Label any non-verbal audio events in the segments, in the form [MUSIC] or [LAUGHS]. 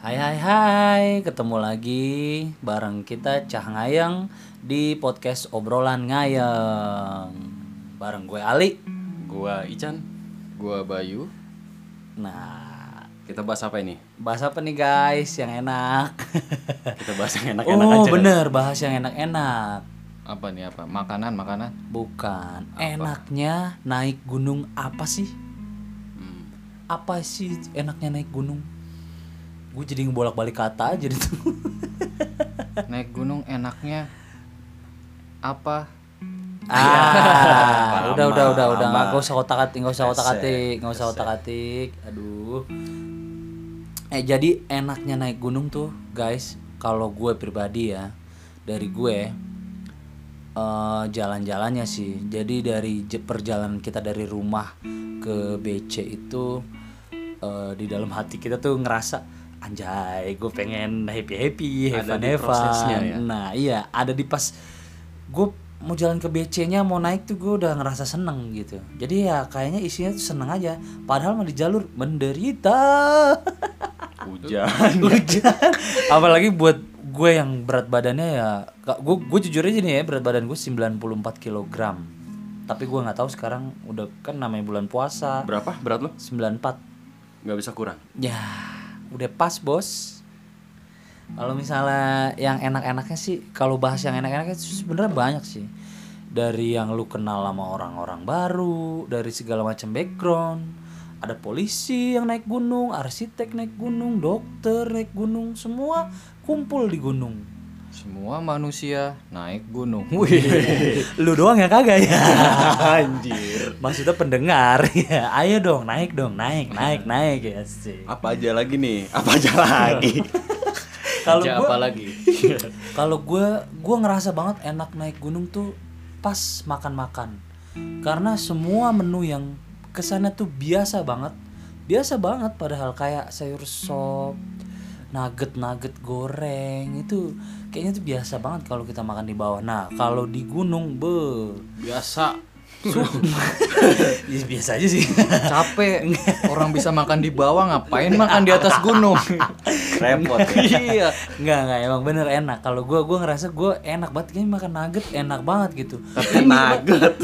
Hai hai hai, ketemu lagi bareng kita Cah Ngayang di podcast Obrolan Ngayang. Bareng gue Ali. Gua Ican. Gua Bayu. Nah, Kita bahas apa ini? bahas apa nih guys yang enak? Kita bahas yang [LAUGHS] enak-enak oh, aja. bener, bahas yang enak-enak. Apa nih apa? Makanan, makanan. Bukan enaknya naik gunung apa sih? Hmm. Apa sih enaknya naik gunung? Gue jadi ngebolak-balik kata aja itu. Naik gunung enaknya apa? Ah, Iya. Lama, udah udah udah udah lama. nggak usah otak atik nggak usah otak Resek, atik nggak usah otak atik aduh eh jadi enaknya naik gunung tuh guys kalau gue pribadi ya dari gue eh jalan-jalannya sih jadi dari je- perjalanan kita dari rumah ke BC itu eh, di dalam hati kita tuh ngerasa anjay gue pengen happy happy have Ada fun, di have fun." prosesnya ya. Iya, Nah iya ada di pas gue mau jalan ke BC-nya mau naik tuh gue udah ngerasa seneng gitu. Jadi ya kayaknya isinya tuh seneng aja. Padahal mah di jalur [LAUGHS] menderita. Hujan. Hujan. Apalagi buat gue yang berat badannya ya gue gue jujur aja nih ya berat badan gue 94 kg. Tapi gue nggak tahu sekarang udah kan namanya bulan puasa Berapa berat lo? 94 Gak bisa kurang. Ya, udah pas bos. Kalau misalnya yang enak-enaknya sih, kalau bahas yang enak-enaknya sih sebenarnya banyak sih. Dari yang lu kenal sama orang-orang baru, dari segala macam background. Ada polisi yang naik gunung, arsitek naik gunung, dokter naik gunung, semua kumpul di gunung. Semua manusia naik gunung. Wih. [LAUGHS] lu doang ya kagak [LAUGHS] ya? Anjir. Maksudnya pendengar, [LAUGHS] ya. ayo dong naik dong, naik, naik, naik ya sih. Apa aja lagi nih? Apa aja [LAUGHS] lagi? Kalau Kerja gua- apa lagi? [LAUGHS] Kalau gue, gue ngerasa banget enak naik gunung tuh pas makan-makan. Karena semua menu yang kesannya tuh biasa banget. Biasa banget padahal kayak sayur sop, nugget-nugget goreng itu kayaknya tuh biasa banget kalau kita makan di bawah. Nah, kalau di gunung be Biasa [LAUGHS] [LAUGHS] ya biasa aja sih. capek orang bisa makan di bawah ngapain makan di atas gunung Repot [LAUGHS] ya. iya Enggak, enggak emang bener enak. Kalau gue gue ngerasa gue enak banget kayaknya makan nugget enak banget gitu. Tapi nugget.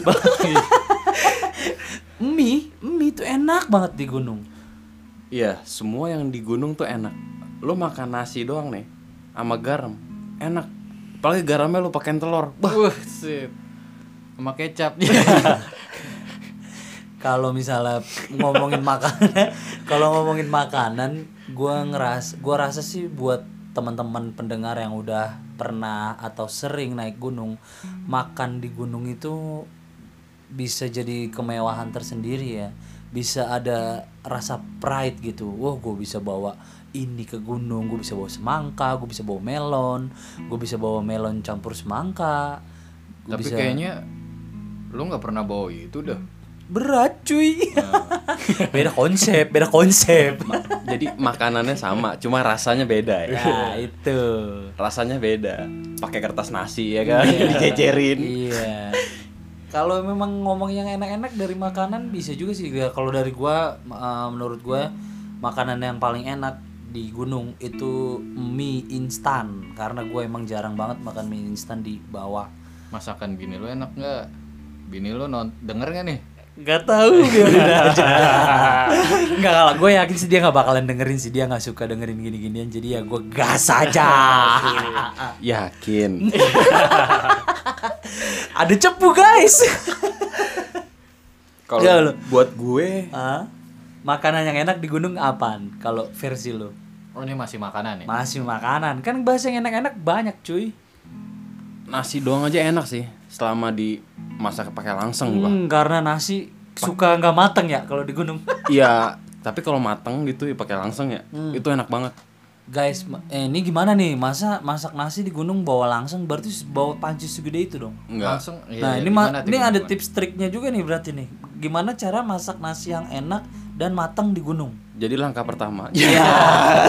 Mie, mie tuh enak banget di gunung. Iya, semua yang di gunung tuh enak. Lo makan nasi doang nih sama garam. Enak. Apalagi garamnya lo pakein telur. wah sip sama [LAUGHS] kecap kalau misalnya ngomongin makanan [LAUGHS] kalau ngomongin makanan gua ngeras gua rasa sih buat teman-teman pendengar yang udah pernah atau sering naik gunung makan di gunung itu bisa jadi kemewahan tersendiri ya bisa ada rasa pride gitu wah gue bisa bawa ini ke gunung gue bisa bawa semangka gue bisa bawa melon gue bisa bawa melon campur semangka Gua tapi bisa- kayaknya lu nggak pernah bawa itu dah berat cuy [LAUGHS] beda konsep beda [LAUGHS] konsep Jadi makanannya sama, cuma rasanya beda ya. ya itu Rasanya beda. Pakai kertas nasi ya kan, [LAUGHS] dicejerin. iya kalau memang ngomong yang enak-enak dari makanan bisa juga sih Ya, kalau dari gua eh, menurut gua makanan yang paling enak di gunung itu mie instan karena gue emang jarang banget makan mie instan di bawah masakan bini lu enak nggak bini lu non denger nggak nih Gak tahu [LAUGHS] biarin aja. Enggak kalau gue yakin sih dia nggak bakalan dengerin sih dia nggak suka dengerin gini-ginian jadi ya gue gas [LAUGHS] aja. Yakin. Ada cepu guys. Ya, Kalau lu. buat gue Hah? Makanan yang enak di gunung apaan? Kalau versi lu oh ini masih makanan nih masih makanan kan bahasa yang enak-enak banyak cuy. nasi doang aja enak sih selama dimasak pakai langseng gua. Hmm, karena nasi suka nggak mateng ya kalau di gunung. Iya, tapi kalau mateng gitu ya pakai langseng ya, itu enak banget. Guys, ma- eh, ini gimana nih? Masa masak nasi di gunung bawa langsung berarti bawa panci segede itu dong? Enggak. langsung nah iya, ini ma- gimana tuh, ini gimana? ada tips triknya juga nih berarti nih gimana cara masak nasi yang enak dan matang di gunung Jadi langkah pertama. Iya, ya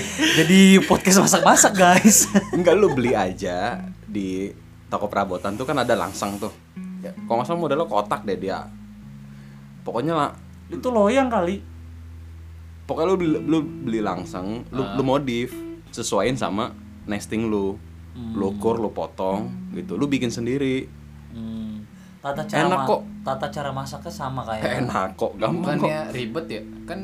[LAUGHS] jadi podcast masak-masak guys [LAUGHS] Enggak lu beli aja di toko perabotan tuh kan ada langseng tuh. Ya, kalau nggak salah modelnya kotak deh dia. Pokoknya lah itu loyang kali pokoknya lu beli, lu beli langsung lu, lu modif sesuaiin sama nesting lu lu ukur lu potong gitu lu bikin sendiri Hmm. Tata cara Enak ma- kok. tata cara masaknya sama Eh. kayak. enak kok gampang kok Bukannya ribet ya? Kan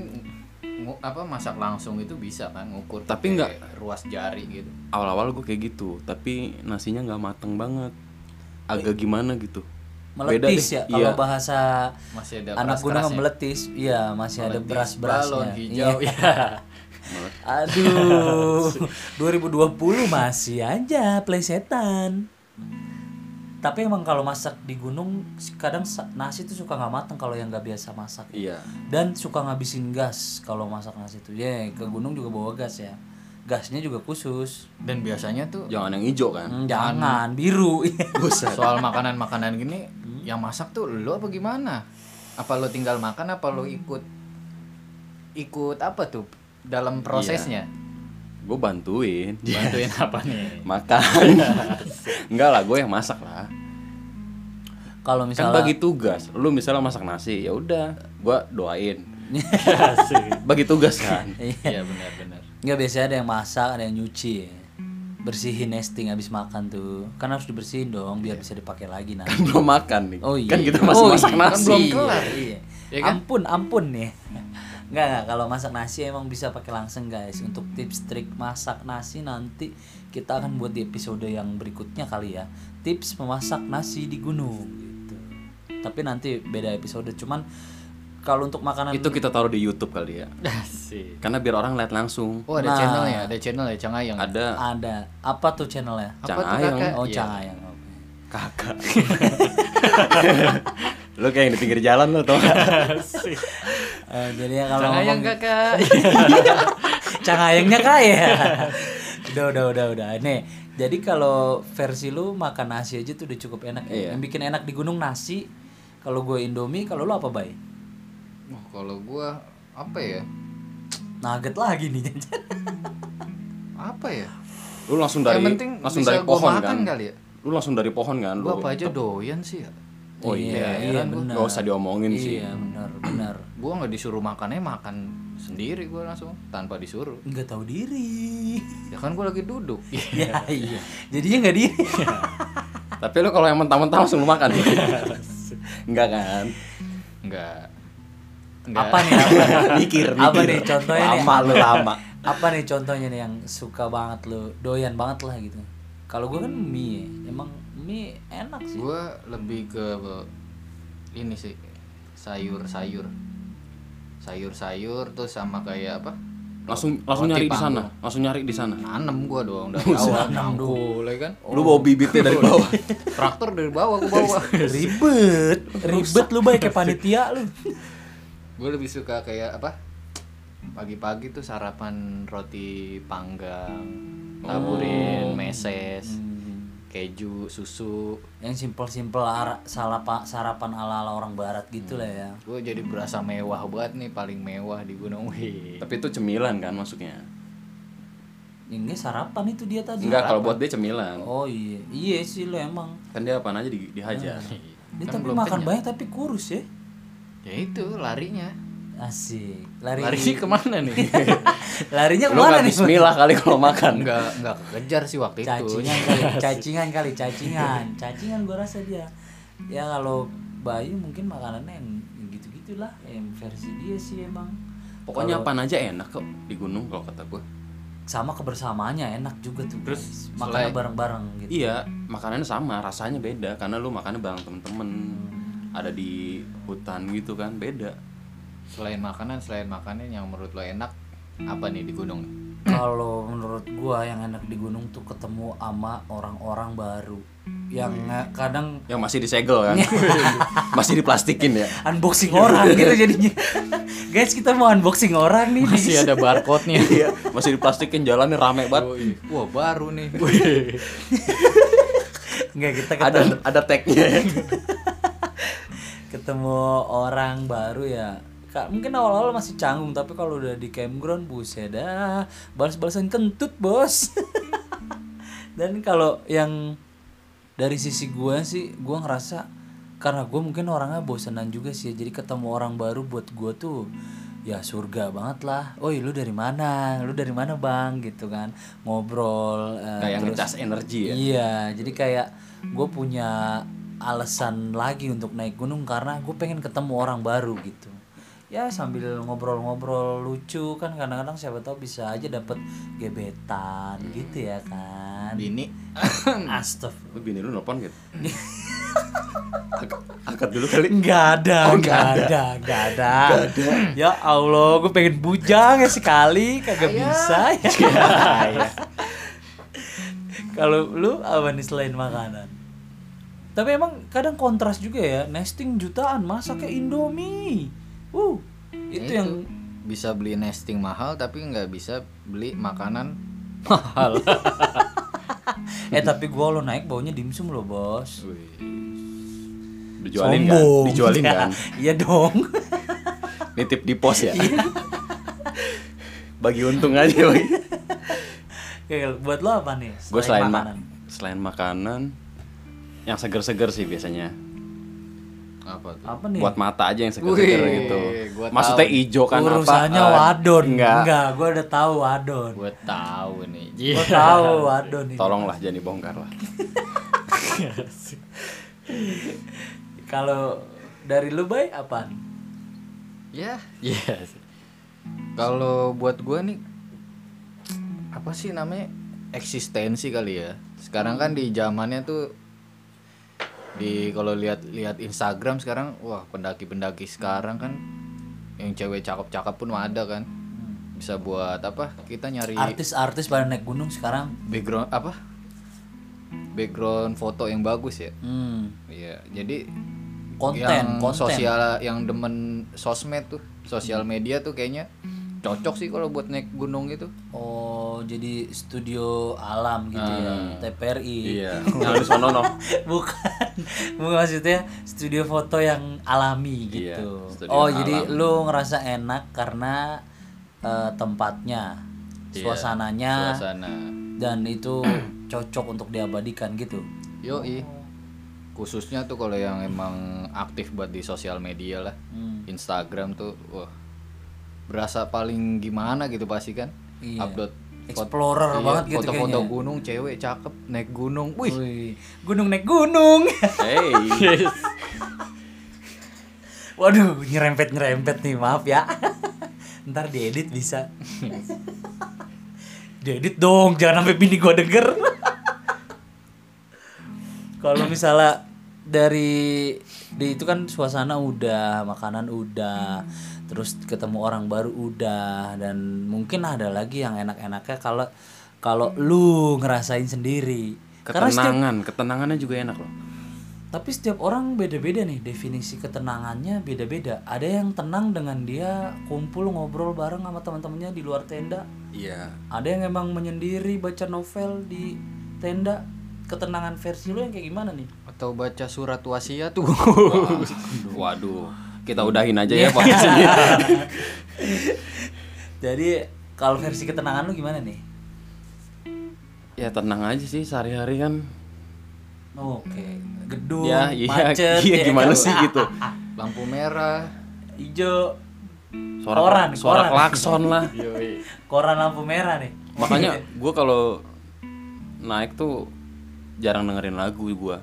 ngu- apa masak langsung itu bisa kan ngukur Tapi pakai nggak- ruas jari gitu. awal-awal gue kayak gitu tapi nasinya nggak mateng banget agak gimana gitu Meletis ya iya. kalau bahasa Masih ada anak gunung keras-kerasnya. meletis. Iya, masih ada Meletis, balon beras-berasnya. hijau, Iya. ya. [LAUGHS] Aduh. 2020 masih aja plesetan. Tapi emang kalau masak di gunung kadang sa- nasi tuh suka nggak mateng kalau yang nggak biasa masak. iya dan suka ngabisin gas kalau masak nasi itu ya ke gunung juga bawa gas ya gasnya juga khusus Dan biasanya tuh [LAUGHS] jangan yang hijau kan Hmm, jangan biru soal makanan-makanan gini yang masak tuh lo apa gimana? Apa lo tinggal makan apa lo ikut ikut apa tuh dalam prosesnya? Iya. gue bantuin [LAUGHS] Bantuin apa nih? makan [LAUGHS] enggak lah gue yang masak lah [LAUGHS] kalau kan misalnya [LAUGHS] bagi tugas lu misalnya masak nasi ya udah gue doain [LAUGHS] bagi tugas kan Iya benar-benar. nggak biasanya ada yang masak ada yang nyuci ya. bersihin nesting habis makan tuh kan harus dibersihin dong biar bisa dipakai lagi kan nanti belum makan nih oh iya kan kita masih Oh iya, masak kan nasi belum kelar iya. Iya kan? ampun ampun nih nggak nggak kalau masak nasi emang bisa pakai langsung guys untuk tips trik masak nasi nanti kita akan buat di episode yang berikutnya kali ya tips memasak nasi di gunung gitu tapi nanti beda episode cuman kalau untuk makanan itu kita taruh di YouTube kali ya Eh. Asik. karena biar orang lihat langsung Oh ada Nah. channel ya, ada channel ya Cangayang. ada ada iya. apa tuh channelnya Apa tuh Eh. Cangayang. kakak? oh Iya. cahaya kakak [LAUGHS] lu kayak yang di pinggir jalan lo tau gak? Eh, jadi ya kalau Cangayang ngomong- gitu. kakak. [LAUGHS] Cangayangnya kaya. udah udah udah udah. Nih, jadi kalau versi lu makan nasi aja tuh udah cukup enak. ya. Iya. Yang bikin enak di gunung nasi. Kalau gue Indomie, kalau lu apa bay? Wah, kalau gua apa ya? Nugget lagi nih [LAUGHS] Janjan. Apa ya? lu langsung dari Yang penting langsung bisa dari gua pohon makan kan kali ya? lu langsung dari pohon kan lu Gua apa aja doyan sih ya. oh iya iya heran gua. benar. Nggak usah diomongin sih. Iya benar benar. Gua nggak disuruh makannya makan sendiri gua langsung tanpa disuruh. Nggak tahu [LAUGHS] diri. [LAUGHS] Ya kan gua lagi duduk. ya iya. Jadinya nggak diri. Iya. tapi lu kalau yang mentah-mentah langsung lu makan [LAUGHS] enggak kan Enggak. apa nih? Apa? [LAUGHS] mikir apa nih mikir. contohnya nih? lama lu lama apa nih contohnya nih yang suka banget lu doyan banget lah gitu kalau gue kan mie ya. emang mie enak sih Gue lebih ke ini sih sayur-sayur, sayur-sayur terus sama kayak apa? langsung langsung Roti nyari di panggang. sana langsung nyari di sana Nanem gue dong dari awal nangkul, ya kan? lu bawa bibitnya [LAUGHS] dari bawah Traktor dari bawah gue bawa. [LAUGHS] ribet ribet lu baik kayak panitia lu gue lebih suka kayak apa? Pagi-pagi tuh sarapan roti panggang, taburin meses, Hmm. keju, susu. yang simple simple sarapan sarapan ala ala orang barat gitu lah ya Gue jadi berasa mewah banget nih, paling mewah di Gunung Wih. tapi itu cemilan kan masuknya ini sarapan itu dia tadi enggak kalau buat dia cemilan oh iya iya sih lu emang kan dia apaan aja di- dihajar Iya. dia tapi makan banyak tapi kurus ya Ya itu larinya. asik lari Larinya kemana [LAUGHS] nih? [LAUGHS] larinya lu kemana nggak nih bismillah kali kalau makan Enggak enggak kekejar sih waktu itu. cacingan kali cacingan kali cacingan cacingan gue rasa dia ya kalau Bayu mungkin makanannya yang gitu gitulah yang versi dia sih emang pokoknya apaan aja enak kok di gunung kalau kata gue sama kebersamaannya enak juga tuh terus makannya selain- bareng bareng [CLEARS THROAT] gitu iya makanannya sama rasanya beda karena lu makannya bareng temen-temen ada di hutan gitu kan beda Selain makanan, selain makanan yang menurut lo enak apa nih di gunung? kalau menurut gua yang enak di gunung tuh ketemu sama orang-orang baru yang Hmm. eh, kadang yang masih disegel [LAUGHS] kan masih diplastikin ya unboxing orang gitu jadinya [LAUGHS] guys kita mau unboxing orang nih di- Masih ada barcode-nya. iya masih diplastikin jalannya rame banget Wah, baru nih. nggak kita ketemu ada ada tagnya ya. [LAUGHS] ketemu orang baru ya Kak, mungkin awal-awal masih canggung tapi kalau udah di campground buset dah balas-balasan kentut bos [LAUGHS] dan kalau yang dari sisi gua sih gua ya, ngerasa karena gue mungkin orangnya bosenan juga sih jadi ketemu orang baru buat gua tuh ya surga banget lah. Oi lu dari mana? Lu dari mana bang? Gitu kan ngobrol. eh, Kayak terus- ngecas energi ya. Iya, jadi kayak gue punya alasan lagi untuk naik gunung karena gue pengen ketemu orang baru gitu. Ya sambil ngobrol-ngobrol lucu kan kadang-kadang siapa tahu bisa aja dapet gebetan gitu ya kan. Bini. Astagfirullah. Lu bini lu nelpon gitu. [LAUGHS] Angkat- Angkat dulu kali. Nggak ada, Oh, nggak nggak ada, nggak ada. Ya Allah, gue pengen bujang ya sekali, kagak bisa ya. Kalau lu apa nih selain makanan? Tapi emang kadang kontras juga ya, nesting jutaan masaknya Indomie. Uh, itu, Itu. yang Bisa beli nesting mahal tapi nggak bisa beli makanan eh tapi gua lo naik baunya dimsum lo, Bos. Dijualin kan? Sombong. [LAUGHS] Dijualin [LAUGHS] kan? Iya dong. [LAUGHS] Nitip di pos ya. Bagi untung aja bagi. Kayak buat lo apa nih? Gue selain makanan. selain makanan yang seger-seger sih biasanya. apa tuh? Apa nih? Buat mata aja yang seger-seger Wih, gitu. gua Maksudnya tahu. ijo kan apa? urusannya eh, wadon Enggak. enggak gue udah tahu wadon Gue tahu nih. Iya. gue tahu wadon [LAUGHS] ini Tolonglah jangan dibongkar lah. kalau dari lu bay apa Ya. Yes. Kalau buat gua nih apa sih namanya eksistensi kali ya. Sekarang kan di zamannya tuh di kalau lihat-lihat Instagram sekarang wah pendaki-pendaki sekarang kan yang cewek cakep-cakep pun ada kan. Bisa buat apa? Kita nyari artis-artis pada naik gunung sekarang background apa? Background foto yang bagus ya. hmm. Iya, jadi Konten, yang konten. sosial yang demen sosmed tuh, sosial media tuh kayaknya cocok sih kalau buat naik gunung itu. oh jadi studio alam gitu ya TPRI Hmm. Iya. Jangan disonono. [LAUGHS] bukan bukan maksudnya studio foto yang alami Iya, gitu studio oh alam. jadi lu ngerasa enak karena eh, tempatnya Iya, suasananya Suasana. dan itu cocok untuk diabadikan gitu Yoi. Khususnya tuh kalau yang emang aktif buat di sosial media lah. Hmm. Instagram tuh wah berasa paling gimana gitu pasti kan. Iya. Upload Explorer iya, banget gitu foto-foto kayaknya. gunung, cewek cakep naik gunung. Wih, Wih, gunung naik gunung. [LAUGHS] Hey. Waduh, nyerempet-nyerempet nih, maaf ya. [LAUGHS] Ntar diedit bisa. [LAUGHS] diedit dong, jangan sampai bini gua denger. [LAUGHS] Kalau misalnya dari di itu kan suasana udah, makanan udah, terus ketemu orang baru udah dan mungkin ada lagi yang enak-enaknya kalau kalau lu ngerasain sendiri. Karena setiap Ketenangan, ketenangannya juga enak loh. Tapi setiap orang beda-beda nih definisi ketenangannya beda-beda. Ada yang tenang dengan dia kumpul ngobrol bareng sama teman-temannya di luar tenda. Iya. Ada yang emang menyendiri baca novel di tenda. Ketenangan versi lu yang kayak gimana [LAUGHS] nih? atau baca surat wasiat [LAUGHS] tuh. Waduh. Kita udahin aja Iya. ya [LAUGHS] podcast ini. Jadi kalau versi ketenangan lu gimana nih? ya tenang aja sih sehari-hari kan. Oke, gedung, Ya, iya, macet, iya ya gimana kan? sih gitu. Lampu merah. Ijo, Suara Koran, suara koran. Iya. klakson lah. koran lampu merah nih. Makanya gue kalau naik tuh jarang dengerin lagu gue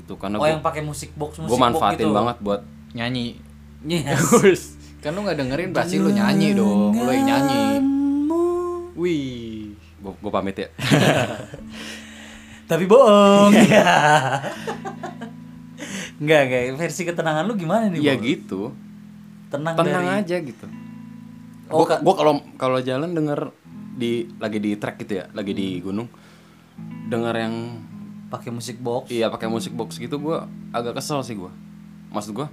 gitu karena Oh gue yang pakai musik box musik gue box manfaatin gitu. banget buat nyanyi [LAUGHS] Yes. kan lu nggak dengerin pasti lu nyanyi dong lu yang nyanyi wih gue gue pamit [LAUGHS] ya tapi bohong Iya. [LAUGHS] nggak nggak versi ketenangan lu gimana nih ya Bang? gitu tenang, tenang Iya, dari aja gitu Oh, gue kalau kalau jalan denger di lagi di trek gitu ya lagi di Hmm. gunung denger yang pakai musik box iya pakai musik box gitu gue agak kesel sih gue maksud gue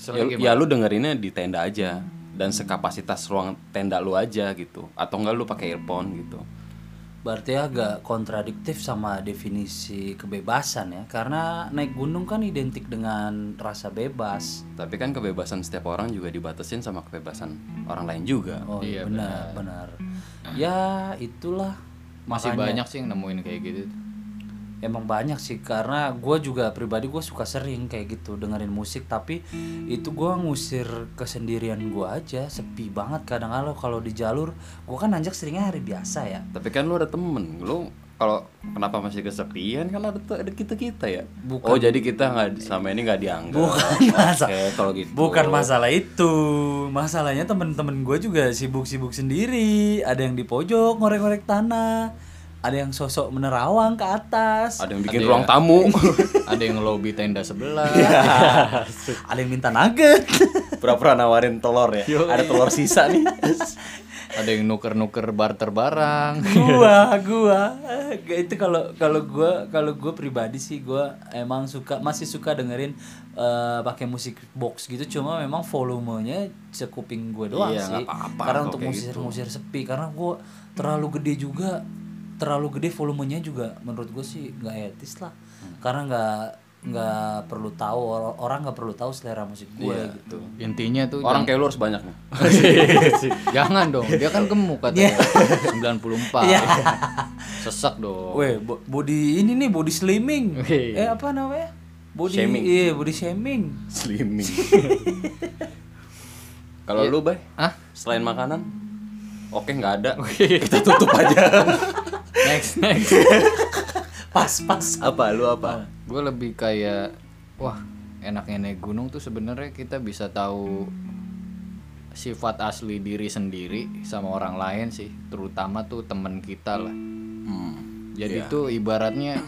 Soalnya ya, ya lu dengerinnya di tenda aja dan sekapasitas ruang tenda lu aja gitu atau enggak lu pakai earphone gitu berarti agak kontradiktif sama definisi kebebasan ya karena naik gunung kan identik dengan rasa bebas Tapi kan kebebasan setiap orang juga dibatasin sama kebebasan orang lain juga. oh iya benar benar ya itulah masih banyak sih yang nemuin kayak gitu [LAUGHS] emang banyak sih karena gue juga pribadi gue suka sering kayak gitu dengerin musik tapi itu gue ngusir kesendirian gue aja sepi banget kadang kalau kalau di jalur gue kan nanjak seringnya hari biasa ya Tapi kan lu ada temen, lu kalau kenapa masih kesepian kan ada, ada kita kita ya. Oh jadi kita nggak sama ini nggak dianggap. bukan masa Oke, kalau gitu. bukan masalah itu masalahnya temen-temen gue juga sibuk-sibuk sendiri ada yang di pojok ngorek-ngorek tanah ada yang sosok menerawang ke atas Ada yang bikin Ada ruang ya. tamu. ada yang lobby tenda sebelah ada yang minta nugget [LAUGHS] Pura-pura nawarin telur ya. Ada telur sisa nih. ada yang nuker-nuker barter barang gua Iya. gua Eh, itu kalau kalau gua kalau gua pribadi sih gua emang suka masih suka dengerin eh, pakai musik box gitu cuma memang volumenya sekuping gue doang Iya, sih nggak apa-apa karena kok untuk kayak gitu. musir musir sepi karena gua terlalu gede juga terlalu gede volumenya juga menurut gue sih nggak etis lah Hmm. karena nggak nggak perlu tahu or- orang nggak perlu tahu selera musik gue Iya. gitu intinya tuh [LAUGHS] Orang kayak lu harus banyak nih. jangan, jangan dong dia kan gemuk katanya 94 Iya. [LAUGHS] sesek dong Weh, bo- body ini nih body slimming. Eh apa namanya? Body Shaming. Iya, body shaming. [LAUGHS] Slimming. [LAUGHS] kalau lu bay, ah selain makanan, oke nggak [LAUGHS] ada. kita tutup aja. next next Pas pas. apa lu apa? gue lebih kayak wah enaknya naik gunung tuh sebenarnya kita bisa tahu sifat asli diri sendiri sama orang lain sih terutama tuh temen kita lah Hmm. jadi tuh ibaratnya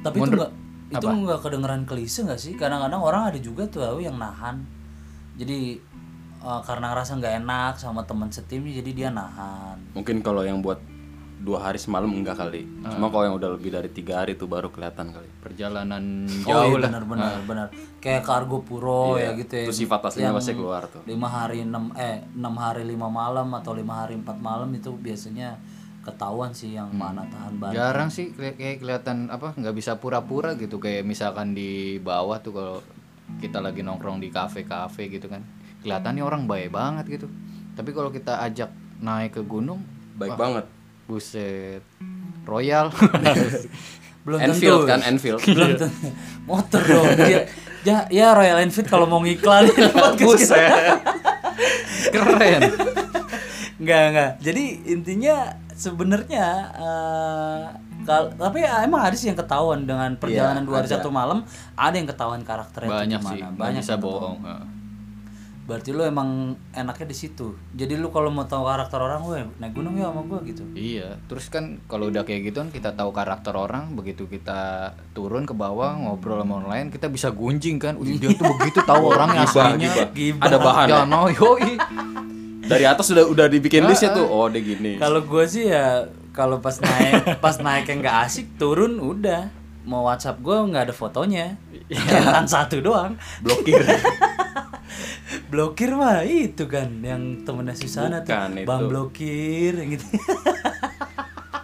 Tapi itu enggak itu nggak kedengeran klise nggak sih? Kadang-kadang orang ada juga tuh tau, yang nahan. Jadi eh, karena ngerasa nggak enak sama teman setim jadi dia nahan. Mungkin kalau yang buat dua hari semalam enggak kali. Cuma kalau yang udah lebih dari tiga hari itu baru kelihatan kali. perjalanan oh jauh iya, lah benar benar benar. Kayak Kargo Puro ya gitu ya. Ah. Iya. Itu sifat aslinya pasti keluar tuh. lima hari enam eh enam hari lima malam atau lima hari empat malam itu biasanya ketahuan sih yang Hmm. mana tahan banget. jarang sih keli- kayak kelihatan apa nggak bisa pura-pura gitu kayak misalkan di bawah tuh kalau kita lagi nongkrong di kafe-kafe gitu kan kelihatannya orang baik banget gitu tapi kalau kita ajak naik ke gunung Baik banget. buset royal belum tentu Iya. Enfield kan, [LAUGHS] Enfield. belum tentu [LAUGHS] motor dong dia, ya, ya Royal Enfield kalau mau [LAUGHS] ngiklanin podcast kita. keren nggak nggak jadi intinya sebenarnya eh, kal- tapi ya emang ada sih yang ketahuan dengan perjalanan dua hari satu malam ada yang ketahuan karakternya itu Iya, banyak gimana. sih nggak banyak bisa yang bohong Heeh. ketahuan. berarti lu emang enaknya di situ jadi lu kalau mau tahu karakter orang gue naik gunung ya sama gue gitu Iya, terus kan kalau udah kayak gitu kan kita tahu karakter orang, begitu kita turun ke bawah ngobrol sama orang lain, kita bisa gunjing kan. Udah dia tuh begitu tahu orangnya Gibah, aslinya. gibah. Gibah. Ada bahan. ya? Jangan mau yoi. Dari atas udah udah dibikin list ya tuh. Oh, dia gini. kalau gue sih ya kalau pas [LAUGHS] naik pas naik yang nggak asik turun udah mau WhatsApp gue nggak ada fotonya catatan satu doang Iya. Blokir. [LAUGHS] blokir mah itu kan yang temennya Susana Bukan tuh itu. bang blokir gitu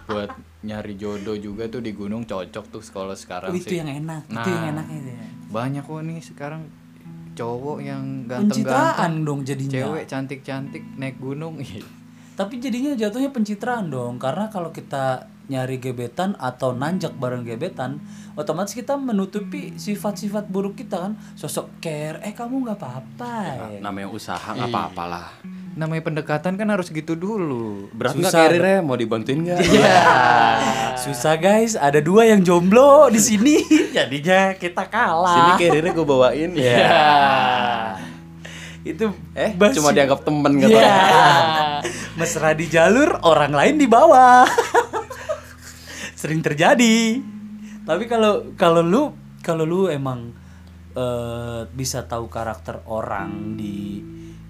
Buat nyari jodoh juga tuh di gunung cocok tuh kalau sekarang itu sih. yang enak itu Nah. yang enak itu ya. Banyak kok nih sekarang cowok yang pencitraan ganteng-ganteng, dong jadinya cewek cantik-cantik naik gunung. [LAUGHS] Ih, tapi jadinya jatuhnya pencitraan dong karena kalau kita nyari gebetan atau nanjak bareng gebetan otomatis kita menutupi sifat-sifat buruk kita kan sosok care eh kamu nggak apa-apa ya. Namanya usaha nggak apa-apalah. Namanya pendekatan kan harus gitu dulu. Berat nggak Susah. Iya. karirnya? Mau dibantuin nggak? susah guys ada dua yang jomblo di sini [LAUGHS] jadinya kita Sini kalah karirnya gue bawain. Iya. itu [LAUGHS] Eh, basi. cuma dianggap temen gitu. Iya. [LAUGHS] Mesra di jalur, orang lain di bawah. [LAUGHS] Sering terjadi. Tapi kalau kalau lu kalau lu emang eh, bisa tahu karakter orang di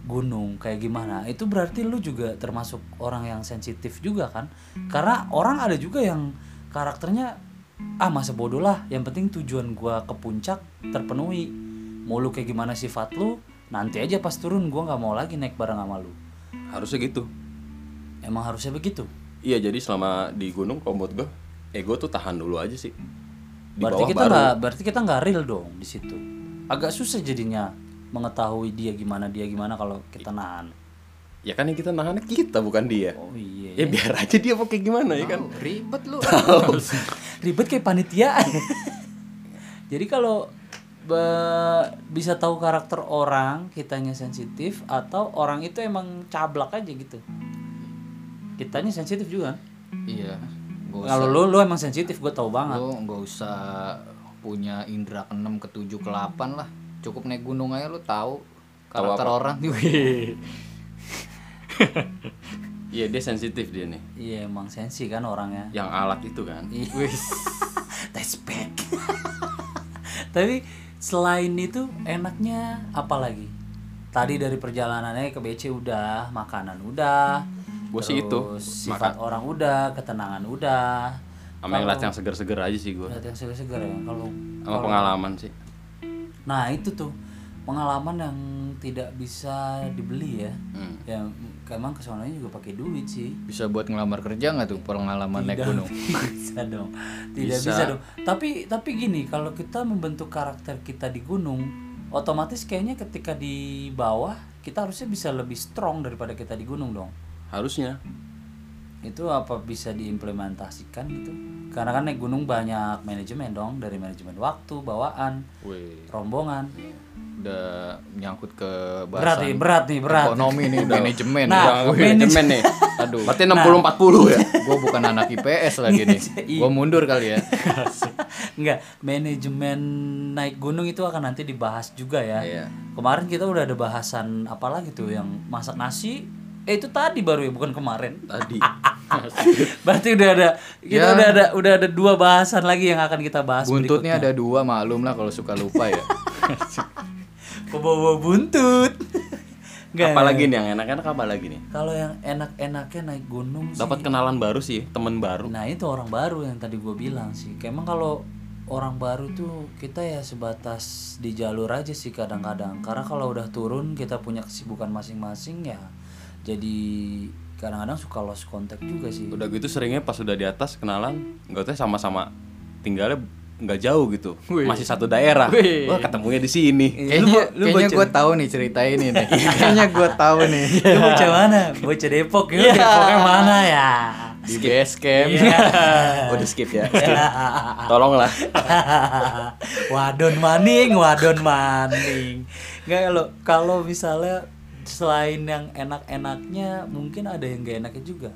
gunung kayak gimana, itu berarti lu juga termasuk orang yang sensitif juga kan? Karena orang ada juga yang karakternya ah masa bodoh lah, yang penting tujuan gua ke puncak terpenuhi. Mau lu kayak gimana sifat lu, nanti aja pas turun gua nggak mau lagi naik bareng sama lu Harusnya gitu. emang harusnya begitu Iya, jadi selama di gunung kalau buat gue, ego tuh tahan dulu aja sih. Di berarti bawah kita baru. nggak berarti kita nggak real dong di situ agak susah jadinya mengetahui dia gimana dia gimana kalau kita nahan Ya kan yang kita nahannya kita bukan dia. oh iya Ya biar aja dia pakai gimana ya kan. Ribet lu. [LAUGHS] ribet kayak panitia [LAUGHS] jadi kalau be- bisa tahu karakter orang kitanya sensitif atau orang itu emang cablak aja gitu kitanya sensitif juga kan? iya gak usah kalau lu lu emang sensitif gue tahu banget lo nggak usah punya indera keenam ketujuh kelapan lah cukup naik gunung aja lo tahu karakter orang Iya dia sensitif dia nih. iya emang sensi kan orangnya Yang alat itu kan. Iya. [LAUGHS] Tespek. [LAUGHS] Tapi selain itu enaknya apa lagi? Tadi dari perjalanannya ke BC udah, makanan udah. Gua sih itu, terus sifat orang udah, ketenangan udah. Sama yang latihan seger-seger aja sih gue. Lihat yang segar-segar ya kalau Sama pengalaman sih. Nah, itu tuh pengalaman yang tidak bisa dibeli ya. Hmm. Ya emang kesonanya juga pakai duit sih. bisa buat ngelamar kerja nggak tuh pengalaman naik Tidak gunung Iya. [LAUGHS] bisa dong tidak bisa. dong tapi tapi gini kalau kita membentuk karakter kita di gunung otomatis kayaknya ketika di bawah kita harusnya bisa lebih strong daripada kita di gunung dong Harusnya. itu apa bisa diimplementasikan gitu karena kan naik gunung banyak manajemen dong dari manajemen waktu bawaan Wih, rombongan udah nyangkut ke berat bahasan nih berat nih berat ekonomi nih manajemen Nah, Jangan manage- manajemen nih. Aduh. Berarti 60-40 ya. gue bukan anak IPS lagi nih gue mundur kali ya [LAUGHS] Enggak, manajemen naik gunung itu akan nanti dibahas juga ya. Iya. Kemarin kita udah ada bahasan apa lagi tuh yang masak nasi. Eh itu tadi baru ya, bukan kemarin. [LAUGHS] Tadi. Ah, Berarti udah ada kita Ya. udah ada udah ada dua bahasan lagi yang akan kita bahas berikutnya. buntutnya ada dua maklum lah kalau suka lupa ya Bawa buntut. [LAUGHS] Enggak. Apalagi nih yang enak-enak apa lagi nih? Kalau yang enak-enaknya naik gunung sih. Dapat kenalan baru sih, temen baru. Nah itu orang baru yang tadi gue bilang sih. Kayak Emang kalau orang baru tuh kita ya sebatas di jalur aja sih kadang-kadang. Karena kalau udah turun kita punya kesibukan masing-masing ya. Jadi kadang-kadang suka lost contact juga [LAUGHS] sih. Udah gitu seringnya pas udah di atas kenalan, nggak tahu sama-sama tinggalnya nggak jauh gitu. Masih satu daerah. Wah, ketemunya di sini. kayaknya kayaknya gue tahu nih cerita ini nih kayaknya gue tahu nih Itu bocah mana? Bocah Depok ya. Depoknya mana ya? Iya. di base camp [LAUGHS] Oh, [LAUGHS] di skip ya. Tolonglah. [LAUGHS] wadon maning, wadon maning. Enggak kalau kalau misalnya selain yang enak-enaknya mungkin ada yang gak enaknya juga.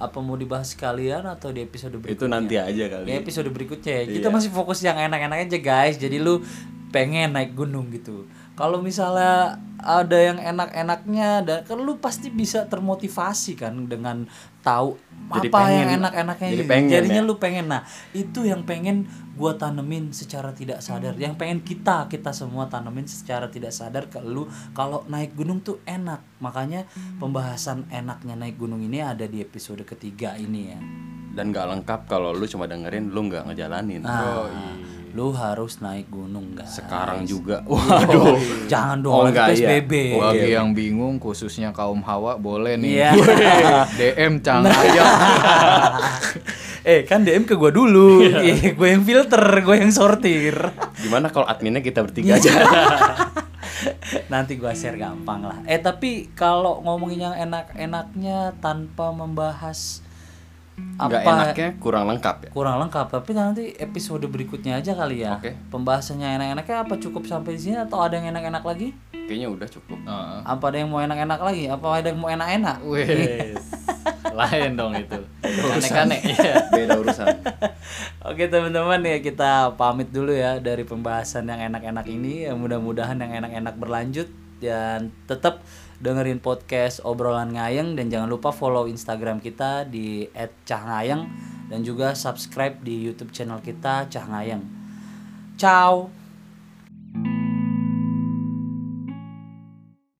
Apa mau dibahas sekalian atau di episode Itu berikutnya? nanti aja Ya, kali. Iya. episode berikutnya ya. Kita masih fokus yang enak-enak aja guys. Jadi lu pengen naik gunung gitu. Kalau misalnya ada yang enak-enaknya dan kan lu pasti bisa termotivasi kan dengan tahu Jadi apa pengen. yang enak-enaknya Jadi gitu. pengen Jadinya ya. lu pengen nah itu yang pengen gua tanemin secara tidak sadar yang pengen kita kita semua tanemin secara tidak sadar ke lu kalau naik gunung tuh enak makanya pembahasan enaknya naik gunung ini ada di episode ketiga ini ya Dan nggak lengkap kalau lu cuma dengerin, lu nggak ngejalanin. Oh, Nah, iya. lu harus naik gunung guys. [LAUGHS] Sekarang juga. Waduh. Jangan dong, Oh, lagi enggak, iya. PSBB. bagi yang bingung khususnya kaum hawa boleh nih [LAUGHS] Iya. DM cang aja [LAUGHS] eh, kan DM ke gua [LAUGHS] dulu. Iya, gue yang filter, gue yang sortir. [LAUGHS] Gimana kalau adminnya kita bertiga aja? Nanti gua share gampang lah. Eh, tapi kalau ngomongin yang enak-enaknya tanpa membahas Nggak apa enaknya kurang lengkap ya. kurang lengkap, tapi nanti episode berikutnya aja kali ya. Oke. Pembahasannya enak-enaknya apa cukup sampai di sini atau ada yang enak-enak lagi? Kayaknya udah cukup. Heeh. Apa ada yang mau enak-enak lagi? Apa ada yang mau enak-enak? Wes. lain dong itu aneh-aneh iya. [LAUGHS] Beda urusan. [LAUGHS] Oke teman-teman ya kita pamit dulu ya dari pembahasan yang enak-enak ini. Ya, Mudah-mudahan yang enak-enak berlanjut dan tetap dengerin podcast obrolan ngayeng dan jangan lupa follow Instagram kita di @cahnayeng dan juga subscribe di YouTube channel kita Cah Ngayeng. Ciao.